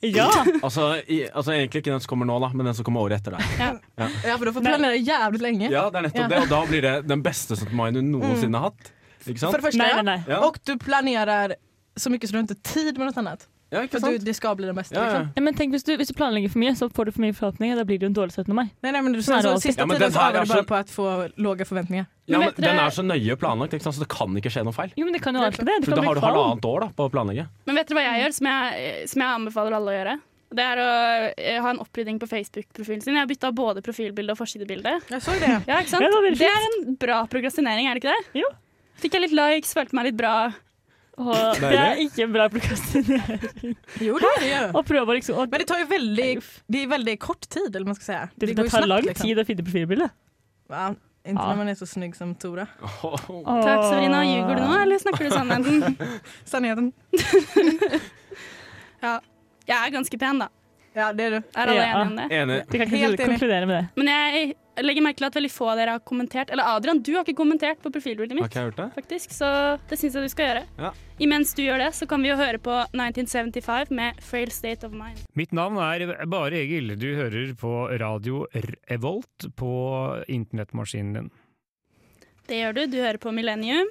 S2: Ja!
S3: Altså, i, altså egentlig ikke den som kommer nå, da, men den som kommer året etter deg.
S4: Ja, for du får planere jævlig lenge.
S3: Ja, det er nettopp det, og da blir det den beste 17. mai du noensinne har hatt. Ikke
S4: For det
S3: sant?
S4: första,
S2: Nei,
S4: ja.
S2: nei, nei.
S3: Ja,
S4: Och du planerar så mycket så du inte har tid med något annat.
S3: ja ikke
S4: För du,
S3: sant?
S4: det ska bli det bästa.
S3: Ja, ja.
S4: Liksom.
S2: Ja, men tenk, hvis du, hvis du planlegger for mye, så får du for mye forhåpninger. Da blir det jo en dårlig 17. mai.
S4: Nej, nej, men du,
S2: Så är det
S4: sen, så,
S2: alltid.
S4: sista
S3: Ja, men
S4: tiden
S3: den
S4: så
S3: här
S4: övar
S3: är
S4: du bara
S3: så-
S4: på att få låga förväntningar.
S3: Ja, men
S1: vet dere-
S3: den er så nøye planlagt, ikke sant? så det kan ikke skje noe feil.
S2: Jo, men det kan jo alltid det. det
S3: For
S2: kan
S3: da
S2: bli
S3: har du
S2: fall.
S3: halvannet år da, på å planlegge.
S1: Men vet dere hva jeg gjør, som jeg, som jeg anbefaler alle å gjøre? Det er å eh, ha en opprydding på Facebook-profilen sin. Jeg har bytta både profilbilde og forsidebilde.
S4: Jag såg det.
S1: Ja, ikke
S2: Ja, det
S1: sant?
S2: var veldig
S1: Det er en bra prokrastinering, er det ikke det?
S2: Jo.
S1: Fikk jeg litt likes, følte meg litt bra.
S2: Og det er ikke en bra prokrastinering. (laughs)
S4: Jo, det är det ju.
S2: Å prøve å liksom å,
S4: Men det tar ju väldigt, det är väldigt kort tid, eller vad man ska säga.
S2: Det,
S4: går
S2: det
S4: ju
S2: tar
S4: snabbt,
S2: lang
S4: liksom.
S2: tid å finne profilbildet.
S4: Ja, inte
S2: Ja.
S4: när man är så snygg som Tora.
S1: Takk, Sabrina. Ljuger du nå, eller snakker du
S2: (laughs)
S1: sannheten?
S4: Sannheten.
S1: Ja. Jeg er ganske pen, da.
S4: Ja, det är du.
S1: Er alle
S2: Ja.
S1: enige om det?
S3: Enig.
S2: Vi kan
S4: Helt
S2: ikke
S4: enig.
S2: konkludere med det.
S1: Men jeg legger merke til at veldig få av dere har kommentert. Eller Adrian, du har ikke kommentert på profilbildet
S3: Har
S1: mitt.
S3: ikke jeg hørt det?
S1: faktisk, så det syns jeg du skal gjøre.
S3: Ja.
S1: Imens du gjør det, så kan vi jo høre på 1975 med 'Frail State of Mind'.
S8: Mitt navn er Bare Egil. Du hører på radio Revolt på internettmaskinen din.
S1: Det gjør du. Du hører på Millennium.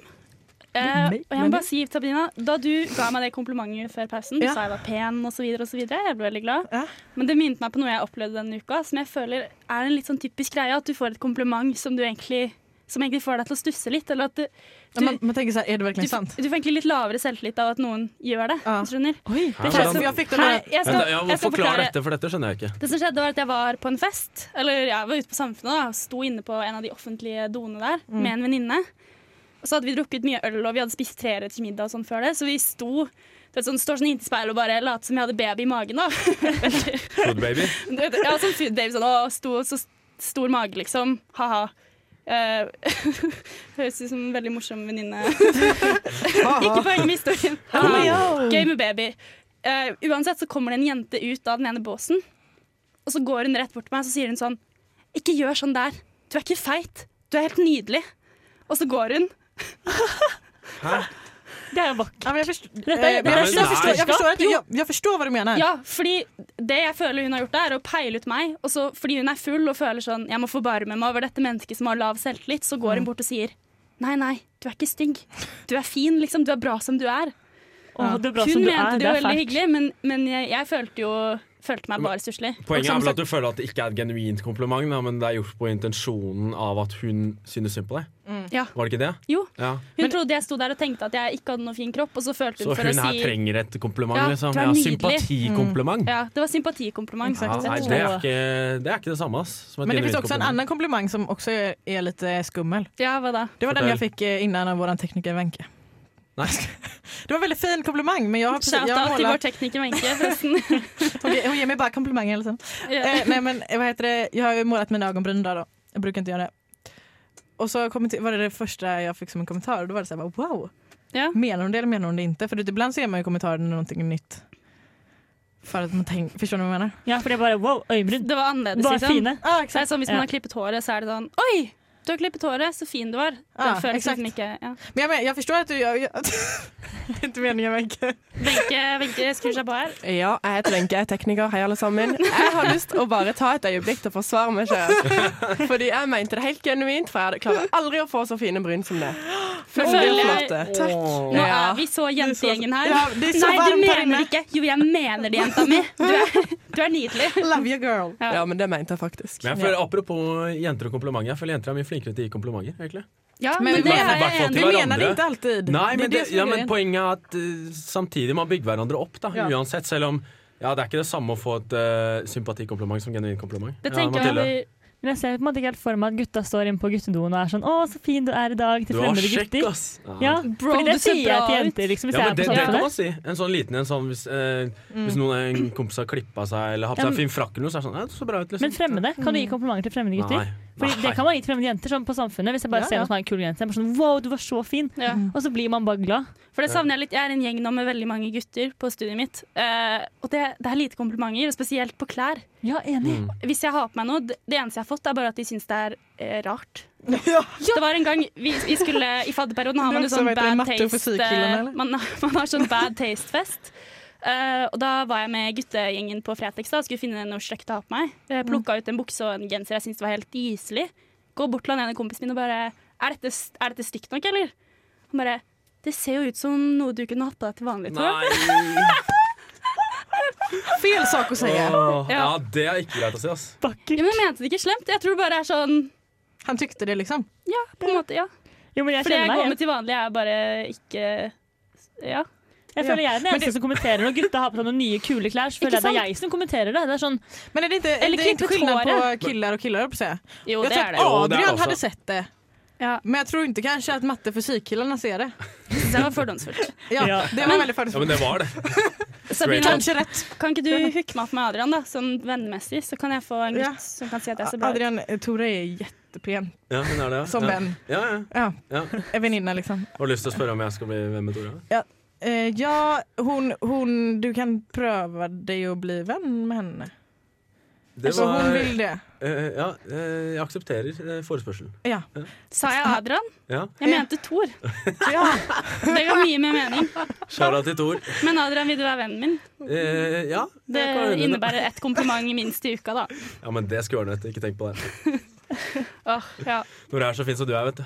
S1: Eh, og jeg må bare si, Sabrina, Da du ga meg det komplimentet før pausen, du
S4: Ja.
S1: sa jeg var pen osv., jeg ble veldig glad,
S4: Ja.
S1: men det minnet meg på noe jeg opplevde denne uka, som jeg føler er en litt sånn typisk greie. At du får et kompliment som du egentlig som egentlig får deg til å stusse litt. Eller at du,
S4: Ja, man, man tänker så här, är det
S1: du,
S4: verkligen
S1: du,
S4: sant?
S1: får egentlig litt lavere selvtillit av at noen gjør det.
S4: Ja.
S1: hvis du skjønner.
S4: Oj,
S3: Ja,
S4: det känns
S3: men-
S4: som jag fick den
S1: Nei,
S4: här...
S1: jeg skal,
S3: Men, ja,
S1: jeg skal
S3: forklar
S1: forklare.
S3: dette, for dette skjønner jeg ikke.
S1: Det som skjedde var at jeg var på en fest, eller jeg var ute på Samfunnet da, og sto inne på en av de offentlige doene der
S4: Mm.
S1: med en venninne. Og så hadde vi drukket mye øl, og vi hadde spist treretters middag og sånn før det, så vi sto du vet, sånn, står sånn inntil speilet og bare lot som jeg hadde baby i magen. da. (laughs)
S3: Food baby.
S1: Du vet, ja, sånn food baby, sånn, å, sto, så stor mage, liksom. Ha-ha. Eh, (laughs) høres ut som en veldig morsom venninne. Ikke poeng med historien. Ha-ha. Gøy med baby. Eh, uansett så kommer det en jente ut av den ene båsen, og så går hun rett bort til meg og så sier hun sånn Ikke gjør sånn der. Du er ikke feit. Du er helt nydelig. Og så går hun.
S2: Det er jo vakkert.
S4: Ja, men jag, förstår, eh,
S2: Dette er-
S4: men
S2: dette er
S4: jag, jag, förstår, jag,
S2: svenska.
S4: förstår att, jag, jag förstår vad du menar.
S1: Ja, fordi det jeg føler hun har gjort, er å peile ut meg. Og så, fordi hun er full og føler sånn Jeg må forbarme meg over dette mennesket som har lav selvtillit. Så går hun bort og sier Nei, nei, du er ikke stygg. Du er fin, liksom. Du er bra som du er.
S2: Å, du er bra
S1: hun
S2: som du
S1: mente
S2: er.
S1: det
S2: Det
S1: jo
S2: er
S1: veldig
S2: fælt.
S1: hyggelig, men, men jeg, jeg følte jo Følte meg bare stusslig. Liksom,
S3: Poenget er vel at du føler at det ikke er et genuint kompliment, da, men det er gjort på intensjonen av at hun synes synd på deg.
S1: Ja.
S3: Var det ikke det?
S1: Jo.
S3: Ja.
S1: Hun trodde jeg sto der og tenkte at jeg ikke hadde noen fin kropp, og så følte hun
S3: Så
S1: for
S3: hun
S1: å
S3: her
S1: si
S3: trenger et kompliment,
S1: Ja,
S3: liksom.
S1: du er
S3: Ja,
S1: nydelig. Mm.
S3: sympatikompliment.
S1: Ja, det var sympatikompliment.
S3: Ja,
S1: rett og
S3: nei,
S1: slett.
S3: det er ikke det, er ikke det samme ass, som
S4: Men
S3: et
S4: det
S3: genuint
S4: finns också en
S3: kompliment.
S4: annan komplimang som också är, är lite skummel.
S1: Ja, hva da?
S4: Det var den
S3: Fortell.
S4: jag fick eh, innan av vår tekniker Wenche.
S3: Nei.
S4: (laughs) Det var en väldigt fin komplimang men jag har precis, jag
S1: Shout-out
S4: har
S1: til vår
S4: målat,
S1: tekniker Wenche, forresten.
S4: hon, ge- hon ger mig bara komplimanger hela tiden.
S1: (laughs) Ja.
S4: Eh, nej men eh, vad heter det, jag har ju målat mina ögonbryn idag då. Jag brukar inte göra det. Och så kommenter- var det det första jag fick som en kommentar och då var det så här, bara, wow,
S1: Ja.
S4: menar hon det eller menar hon det inte? För du vet, ibland ser man ju kommentarer när någonting är nytt. För att man tänker, förstår ni vad jag menar?
S2: Ja, for det er bare wow, øyenbryn.
S1: Det var annerledes,
S2: Bare
S1: liksom.
S2: fine.
S4: Ja ah,
S1: Så det er sånn, hvis man
S2: Ja.
S1: har klippet håret, så er det sånn Oi! Du har klippet håret, så fin du var. Det
S2: Ah,
S4: Ja,
S1: føles
S4: exakt.
S1: liksom ikke ja.
S4: Men jag, men, jag förstår att du gör... Jag, (laughs) det är inte meningen Wenche.
S1: Wenche Wenche skrur seg på her.
S9: Ja, jeg heter Wenche, jeg er tekniker. Hei, alle sammen. Jeg har lyst å bare ta et øyeblikk til å forsvare meg sjøl. Fordi jeg mente det helt genuint, for jeg hadde- klarer aldri å få så fine bryn som det.
S1: Nå
S9: Veldig
S1: føler jeg-
S9: flotte.
S1: Nå
S9: Ja.
S1: er vi så jentegjengen her.
S4: Ja, det är så
S1: Nei, du
S4: varmt
S1: mener
S4: här inne.
S1: ikke! Jo, jeg mener det, jenta mi. Du er, du er nydelig.
S4: Love you girl.
S9: Ja, men det mente jeg faktisk.
S3: Men jeg føler, Apropos jenter og komplimenter, jeg føler jenter er mye flinkere til å gi komplimenter. egentlig
S1: Ja,
S4: Men
S1: men
S4: vi
S1: det
S4: mener-
S1: er jeg
S3: hvertfall
S1: enig
S4: Vi
S1: i.
S3: til
S4: menar det
S3: hverandre.
S4: inte alltid.
S3: Nei,
S4: det är
S3: men, det,
S4: som är
S3: ja, men
S4: grejen.
S3: Poenget er at eh, samtidig man bygger hverandre opp, da,
S4: Ja.
S3: uansett. Selv om ja, det er ikke det samme å få et eh, sympatikompliment som genuint kompliment.
S1: Det
S3: Ja,
S1: tenker jeg
S3: Mathilde.
S1: over
S2: Men jeg ser på en måte ikke helt for meg at gutta står inne på guttedoen og er sånn 'Å, så fin du er i dag', til
S3: Du var
S2: fremmede
S3: kjekk,
S2: gutter.
S3: ass!
S2: Ja,
S4: Bro,
S2: fordi det
S4: du ser
S2: sier jeg
S4: bra
S2: til
S4: ut.
S2: jenter, liksom, hvis
S3: Ja,
S2: jeg
S3: men
S2: er på
S3: det, det kan
S2: samfunnet.
S3: man si. En sånn liten en sånn hvis, eh, hvis noen en kompis har klippa seg eller har på
S2: Ja,
S3: seg
S2: men-
S3: en fin frakk eller noe, så er det sånn Ja, du så bra ut, liksom.
S2: Men fremmede, kan du gi komplimenter til fremmede gutter? Fordi Det kan man gi til fremmede jenter sånn på samfunnet. Hvis jeg bare
S4: Ja,
S2: ser
S4: ja.
S2: noen som er en kul jente, jeg er bare sånn, wow, du var så fin.
S1: Ja.
S2: Og så blir man bare glad.
S1: For det savner jeg litt. Jeg er en gjeng nå med veldig mange gutter på studiet mitt. Eh, og det, det er lite komplimenter, og spesielt på klær.
S2: Ja, enig.
S3: Mm.
S1: Hvis jeg har på meg noe, det det eneste jeg har fått, er bare at de syns det er eh, rart. Det var en gang vi, vi skulle I fadderperioden har
S4: Du
S1: man jo
S4: også
S1: sånn
S4: vet det,
S1: bad
S4: matte- og
S1: taste
S4: fysikkhyllene, eller?
S1: man, (laughs) har- man har sånn bad taste-fest. Eh, og da var jeg med guttegjengen på Fretex da, og skulle finne noe stygt å ha på meg. Uh, Plukka ut en bukse og en genser jeg syntes var helt gyselig. Går bort til han ene kompisen min og bare Er dette, er dette stygt nok, eller? Han bare Det ser jo ut som noe du kunne hatt på deg til vanlig, tror jeg.
S2: (laughs)
S3: Nei!
S4: Fel sak å si.
S3: Åh, ja, det er ikke greit å si, ass.
S1: Ja, men jeg mente det ikke slemt. Jeg tror det bare er sånn
S4: Han tykte det, liksom.
S1: Ja, på en måte, ja.
S2: Jo, men jeg
S1: For det jeg
S2: kjenner meg
S1: går
S2: igjen.
S1: med til vanlig, er bare ikke Ja.
S2: Jeg føler jeg er den eneste som kommenterer når gutta har på seg noen nye kule klær. Så føler jeg det er jeg som kommenterer det. Det er sånn,
S4: Men är det inte,
S1: Eller
S4: det är inte
S1: klippt
S4: skillnad
S1: håret.
S4: på killar och killar, höll jag på att säga.
S1: Jo,
S4: Jag
S1: det
S4: tror
S1: er
S4: att
S1: det.
S3: jo. Jo, det är det
S4: Adrian
S3: också.
S4: hade sett det.
S1: Ja.
S4: Men jag tror inte kanske att matte och fysikkillarna ser det.
S1: Det var fordomsfullt.
S4: Ja,
S2: Ja.
S4: Det var
S1: Men-
S4: veldig
S3: Ja,
S4: fördomsfullt.
S3: men det var det.
S1: Sabrina,
S4: Kanskje rett.
S1: kan ikke du hooke meg opp med Adrian, da? Sånn vennmessig, så kan jeg få en gutt
S4: Ja.
S1: som kan si at jeg ser bra ut.
S4: Adrian eh, Tore er jättepen
S3: Ja, men det er det. ja.
S4: som
S3: ja.
S4: venn.
S3: Ja, ja.
S4: Ja,
S3: Ja.
S4: en väninna liksom.
S3: Har du lyst til å spørre om jeg skal bli venn med Tora?
S4: Eh, ja, hon, hon, du kan pröva dig att bli vän med henne.
S3: Det
S4: alltså,
S2: Altså,
S3: var,
S4: Hon vill det.
S3: eh, ja, eh, jeg aksepterer eh, forespørselen.
S4: Ja.
S1: Sa jeg Adrian?
S3: Ja.
S1: Jeg mente Thor.
S4: ja.
S1: Det ga mye mer mening.
S3: Shara til Tor.
S1: Men Adrian, vil du være vennen min?
S3: Eh, ja,
S1: Det
S3: jeg kan hende
S1: innebærer ett kompliment minst i uka, da.
S3: Ja, men det skal jeg ordne etter. Ikke tenk på det.
S1: Åh, ja.
S3: Når jeg er så fin som du er, vet du.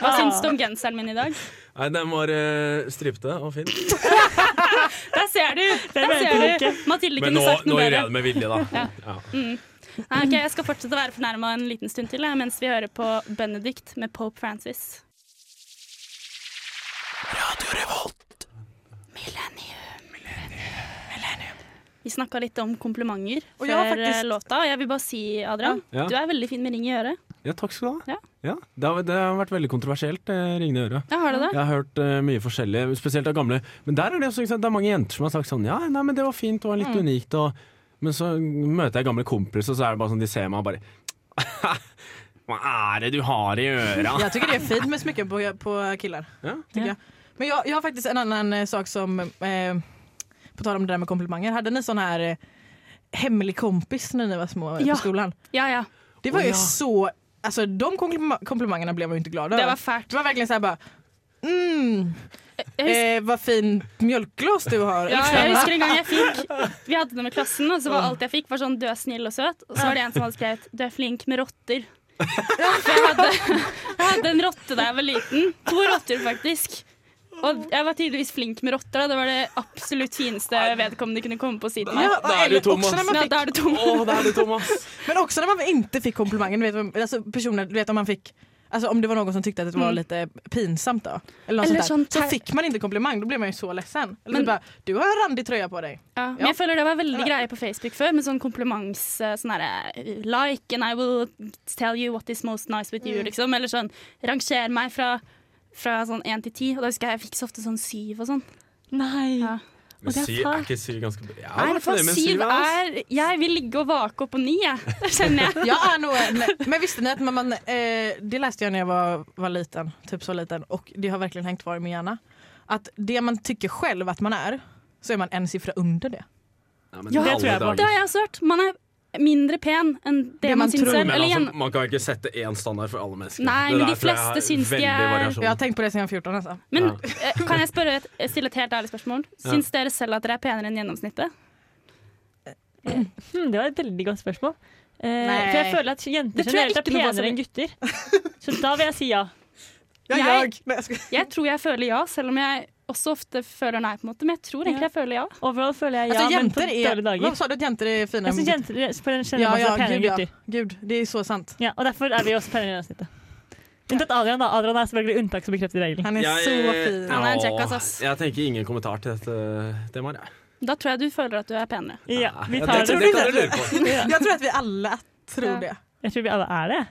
S1: Hva syns du om genseren min i dag?
S3: Nei, den var eh, stripete og fin.
S1: Der ser du! Der
S2: mente
S1: ser
S2: jeg
S1: du. Mathilde
S3: Men
S1: kunne
S3: nå,
S1: sagt
S3: nå
S1: noe
S3: gjør
S1: bedre.
S3: jeg det med vilje, da. Ja.
S1: Nei, ok, jeg skal fortsette å være fornærma en liten stund til jeg, mens vi hører på Benedict med Pope Francis. Vi snakka litt om komplimenter
S4: Og
S1: før
S4: jeg har faktisk-
S1: eh, låta. og Jeg vil bare si, Adrian,
S3: Ja.
S1: du er veldig fin med ring i øret.
S3: Ja, takk skal du
S1: Ja.
S3: ha. Ja, det, har, det har vært veldig kontroversielt, eh, ringende i øret.
S1: Ja, har du det?
S3: (laughs) Jeg har hørt eh, mye forskjellig, spesielt av gamle. Men der er det, også, ikke sant? det er mange jenter som har sagt sånn Ja, nei, men det var fint, det var litt
S1: Mm.
S3: unikt. Og, men så møter jeg gamle kompiser, og så er det bare (laughs) sånn de ser meg og bare Hva er det du har i øra? (laughs)
S4: Jag tycker det är fint med smycken på, på killar.
S3: Ja.
S4: Tycker jag. Men jag, jag har faktiskt en annan eh, sak som, eh, på tal om det där med komplimanger. Hade ni sån här eh, hemlig kompis när ni var små
S1: Ja.
S4: på skolan?
S1: Ja ja.
S4: Det var
S3: Åh,
S4: ju
S3: ja.
S4: så, alltså de komplima- komplimangerna blev man ju inte glad över.
S1: Det var fælt.
S4: det var verkligen så här bara Mm,
S1: Jeg husker,
S4: eh, vad fin mjölkglas du har.
S1: (laughs) ja,
S4: Liksom.
S1: jeg husker en gang jeg fikk Vi hadde det med klassen, og så var alt jeg fikk, var sånn 'du er snill og søt'. Og så var det en som hadde skrevet 'du er flink med rotter'. For jeg hadde, jeg hadde en rotte da jeg var liten. To rotter, faktisk. Og jeg var tydeligvis flink med rotter. Da. Det var det absolutt fineste vedkommende kunne komme på å si til meg.
S4: Ja,
S3: Da är
S4: eller
S3: du tom,
S4: också när man
S1: Men
S4: fick,
S1: da er det tom.
S3: Å, det er du, Thomas!
S4: men också när man inte fick komplimangen. du Vet, man- alltså, personer, du vet om man fick Alltså om det var någon som tyckte att det var
S1: Mm.
S4: lite pinsamt då. Eller, något
S1: Eller
S4: sånt där.
S1: sånt
S4: Så
S1: här-
S4: fick man inte komplimang, då blev man ju så ledsen. Eller
S1: Men-
S4: typ bara, du har en randig tröja på dig.
S1: Ja, men
S4: Ja.
S1: jeg føler det var veldig
S4: Ja.
S1: greie på Facebook før, med sånn kompliments... eh, Sånn herre Like and I will tell you what is most nice with you, liksom. Eller sånn ranger meg fra, fra sånn én til ti. Og da husker jeg jeg fikk så ofte sånn syv og sånn.
S2: nei.
S1: Ja.
S2: Og
S3: Men
S2: det er
S3: syv er
S2: fælt.
S3: ikke syv ganske bra?
S1: Nei, for syv er Jeg vil ligge og vake opp på ni, jeg. (laughs) Det kjenner jeg.
S4: Jag är nog en, men visste ni att man, man, eh, det läste jag när jag var, var liten, typ så liten och det har verkligen hängt kvar i min hjärna. Att det man tycker själv att man är, så är man en siffra under det.
S2: Ja, det tror jeg på.
S1: Det har jeg også hørt. Man er mindre pen enn det,
S4: Det man
S1: man syns
S4: tror.
S1: selv.
S3: Men
S1: Eller
S3: altså,
S1: igjen
S3: man kan ikke sette én standard for alle mennesker.
S1: Nei,
S3: Det
S1: men
S3: der
S1: de
S3: tror jeg
S1: fleste
S3: er
S1: syns de
S3: veldig
S1: er-
S4: Jag har
S3: variasjon.
S4: tänkt på det sedan jag var 14 alltså.
S1: Men
S3: Ja.
S1: eh, kan jeg spørre et, stille et helt ærlig spørsmål? Syns dere selv at dere er penere enn gjennomsnittet?
S2: Hmm, det var et veldig godt spørsmål. Eh,
S4: Nei.
S2: for jeg føler at jenter
S1: Det tror jeg
S2: generelt er
S1: ikke noe var så
S2: penere enn gutter. Så da vil jeg si ja.
S4: Jag,
S1: Jeg-
S4: jag, Nej, jag skojar.
S1: Jeg tror jeg føler ja, selv om jeg også ofte føler nei, på en måte. Men jeg tror egentlig jeg føler ja.
S2: Overall føler jeg ja,
S4: alltså,
S2: men på
S4: Altså, jenter
S2: dårlige
S4: är,
S2: dager.
S4: vad sa du att jenter är fina?
S2: Jeg syns jenter på
S4: ja,
S2: den generelle
S4: ja,
S2: basis er
S4: gud,
S2: penere enn
S4: ja.
S2: gutter.
S4: gud, det är så sant.
S2: Ja, og derfor er vi også penere enn gjennomsnittet. Unntatt Adrian, da. Adrian er selvfølgelig unntak som bekrefter
S3: (laughs)
S2: regelen.
S4: Han är så fin.
S1: Han er en kjekkas,
S3: Ja,
S1: ass.
S3: eh, jeg tenker ingen kommentar til dette temaet. jeg.
S1: Da tror jeg du føler at du er penere.
S2: Ja, vi
S3: Ja,
S2: tar
S3: det, det
S2: det.
S3: kan dere lure på.
S4: Jag tror att vi alla tror
S1: Ja.
S4: det.
S2: Jeg tror vi alle er det.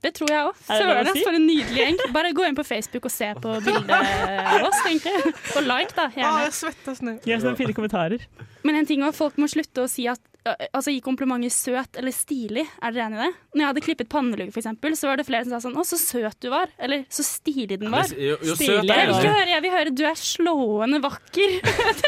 S1: Det tror jeg òg.
S2: Er det lov å
S1: Søren, ass,
S2: si?
S1: for en nydelig gjeng. Bare gå inn på Facebook og se på bildet av oss, egentlig. Og like, da. gjerne.
S4: svettas nu.
S2: Gi oss noen fine kommentarer.
S1: Men en ting også, folk må slutte å si at ø, Altså gi komplimenter søt eller stilig. Er dere enig i det? Når jeg hadde klippet pannelugg, for eksempel, så var det flere som sa sånn Å, så søt du var. Eller så stilig den var.
S3: Jo, jo, søt
S2: Stilig.
S1: Jeg
S3: er
S1: vil ikke
S3: enig.
S1: høre, jeg vil høre du er slående vakker.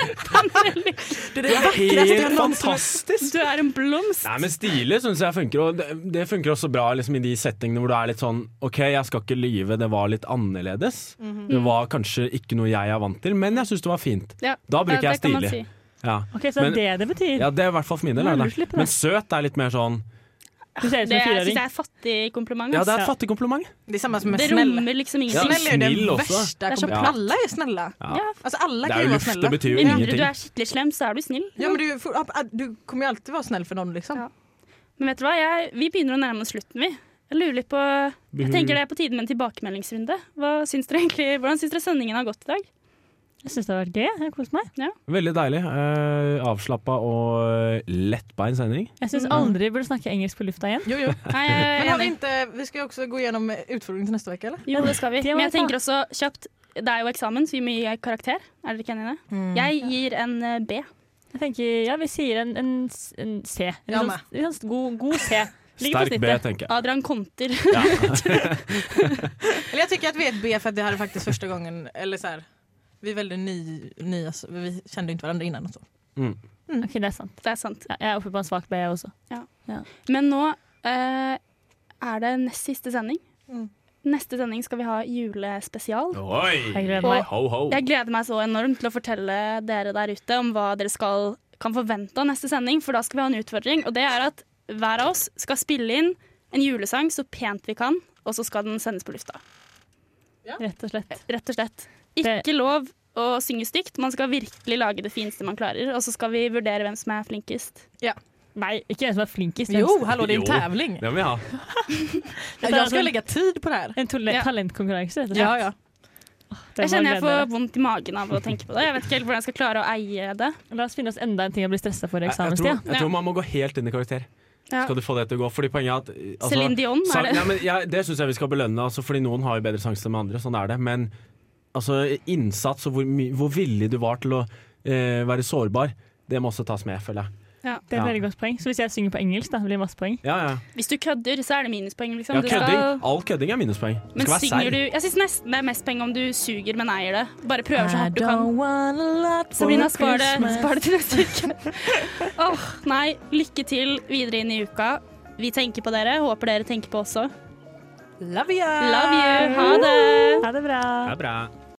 S1: (laughs) Pannelugg.
S4: Det är det
S3: Helt
S4: vackraste
S3: fantastisk!
S1: Du er en blomst.
S3: Nei, men Stilig syns jeg funker, og det, det funker også bra liksom, i de settingene hvor du er litt sånn OK, jeg skal ikke lyve, det var litt annerledes.
S1: Mhm.
S3: Det var kanskje ikke noe jeg er vant til, men jeg syns det var fint.
S1: Ja,
S3: Da bruker
S1: det- det
S3: jeg
S1: kan man
S3: stilig.
S1: si.
S3: Ja.
S2: Ok, Så
S3: Men-
S2: det er det det betyr.
S3: ja, det er i hvert fall for min del. er det.
S2: Nullslipp, da.
S3: Men søt er litt mer sånn
S2: Du ser ut som
S1: Det syns
S2: en
S1: jeg
S2: fireåring.
S1: er et fattig kompliment.
S3: Ja,
S1: ass.
S3: det er et fattig kompliment.
S4: Det är samma som med
S1: Det
S4: snäll.
S1: rommer liksom
S3: Ja.
S1: ingenting.
S4: Snäll är ju
S3: Snill
S4: det
S3: också.
S4: värsta.
S1: Det är som
S4: kompliment.
S1: platt.
S4: Alla är snälla.
S1: Ja.
S4: Alltså alla
S3: Det
S4: kan ju
S3: er jo
S4: vara
S3: luft,
S4: snälla.
S3: det betyr jo
S1: Med mindre
S3: ingenting.
S1: du er skikkelig slem, så er du snill.
S4: Ja, men du, får- du kommer ju alltid vara snäll för någon liksom.
S1: Ja. Men vet du hva, jeg, vi begynner å nærme oss slutten, vi. Jeg lurer litt på Jeg tenker det er på tide med en tilbakemeldingsrunde. Hva syns dere egentlig, Hvordan syns dere sendingen har gått i
S3: (laughs)
S1: dag?
S2: Jeg syns det har vært gøy. Jeg har kost meg.
S3: Veldig deilig. Uh, Avslappa og lettbeint sending.
S2: Jeg syns aldri vi burde snakke engelsk på lufta igjen.
S4: Jo, jo.
S1: Nei, jeg er
S4: Men har vi,
S1: enig.
S4: inte, vi ska ju också gå igenom utfrågning till nästa vecka eller?
S1: Jo, det skal vi.
S2: Det
S1: Men
S2: må vi
S1: jeg
S2: ta.
S1: tenker også kjapt Det er jo eksamen, så vi må gi karakter. Er dere ikke enig i det?
S4: Mm.
S3: Mm.
S1: Jeg gir en eh, B.
S2: Jeg tenker, ja, vi sier en, en, s- en C. En
S4: Ja,
S2: sånn-
S4: meg.
S2: en sånn god, god C. Ligger på
S3: Sterk B,
S2: snittet.
S3: tenker jeg.
S1: Adrian (laughs) Konter.
S4: Eller jag tycker att vi är ett B för att det här är faktiskt första gången, eller så här, vi är väldigt ny, nya, så vi kände ju inte varandra innan och så.
S2: Ok, det er sant.
S1: Det er sant.
S2: Ja, jeg er oppe på en svak B jeg også.
S1: Men nå eh, er det nest siste sending.
S4: Mm.
S1: Neste sending skal vi ha julespesial.
S2: Jeg
S3: Oi!
S2: gleder
S1: Og-
S2: meg.
S3: Ho, ho.
S1: Jeg gleder meg så enormt til å fortelle dere der ute om hva dere skal, kan forvente av neste sending, for da skal vi ha en utfordring. Og det er at hver av oss skal spille inn en julesang så pent vi kan, og så skal den sendes på lufta.
S2: Rett og slett.
S1: Rett og slett.
S2: Det-
S1: Ikke lov å synge stygt, man skal virkelig lage det fineste man klarer, og så skal vi vurdere hvem som er flinkest.
S2: Nei, ikke en som er flinkest. men
S4: Jo, hallå det är en
S3: Jo.
S4: tävling.
S3: Det må vi ha.
S4: Jag ska lägga tid på det här.
S2: En tole-
S1: Ja.
S2: talentkonkurranse, rett og slett.
S4: Ja, ja.
S2: Det
S1: Jeg
S2: må
S1: kjenner jeg
S2: glede
S1: får
S2: dere.
S1: vondt i magen av å tenke på det. Jeg vet ikke helt hvordan jeg skal klare å eie det.
S2: La oss finne oss enda en ting å bli stressa for i
S3: Jeg, jeg, tror,
S2: eksamenstida.
S3: jeg tror man må gå helt inn i karakter.
S1: Ja.
S3: Skal du få det til å gå? Fordi poenget er at eh, altså,
S1: Céline Dion,
S3: sang-
S1: er det?
S3: Ja, men jeg, det syns jeg vi skal belønne, altså, fordi noen har jo bedre sjanser enn andre. Sånn er det. Men altså, innsats og hvor, my- hvor villig du var til å eh, være sårbar, det må også tas med, føler jeg.
S2: Det er et
S3: Ja.
S2: veldig godt poeng. Så hvis jeg synger på engelsk, da blir det masse poeng.
S3: Ja, ja.
S1: Hvis du kødder, så er det minuspoeng, liksom.
S3: ja
S1: Du
S3: kødding.
S1: skal-
S3: All kødding er minuspoeng. Du
S1: Men
S3: skal være
S1: synger du
S3: seig.
S1: Jeg syns nesten det er mest penger om du suger, men eier det. Bare prøver så hardt du kan. Sabrina, spar det, spar det til neste uke. (laughs) Åh, nei. Lykke til videre inn i uka. Vi tenker på dere. Håper dere tenker på også.
S4: Love you!
S1: Love you. Ha det.
S2: Ha det bra.
S3: Det er bra.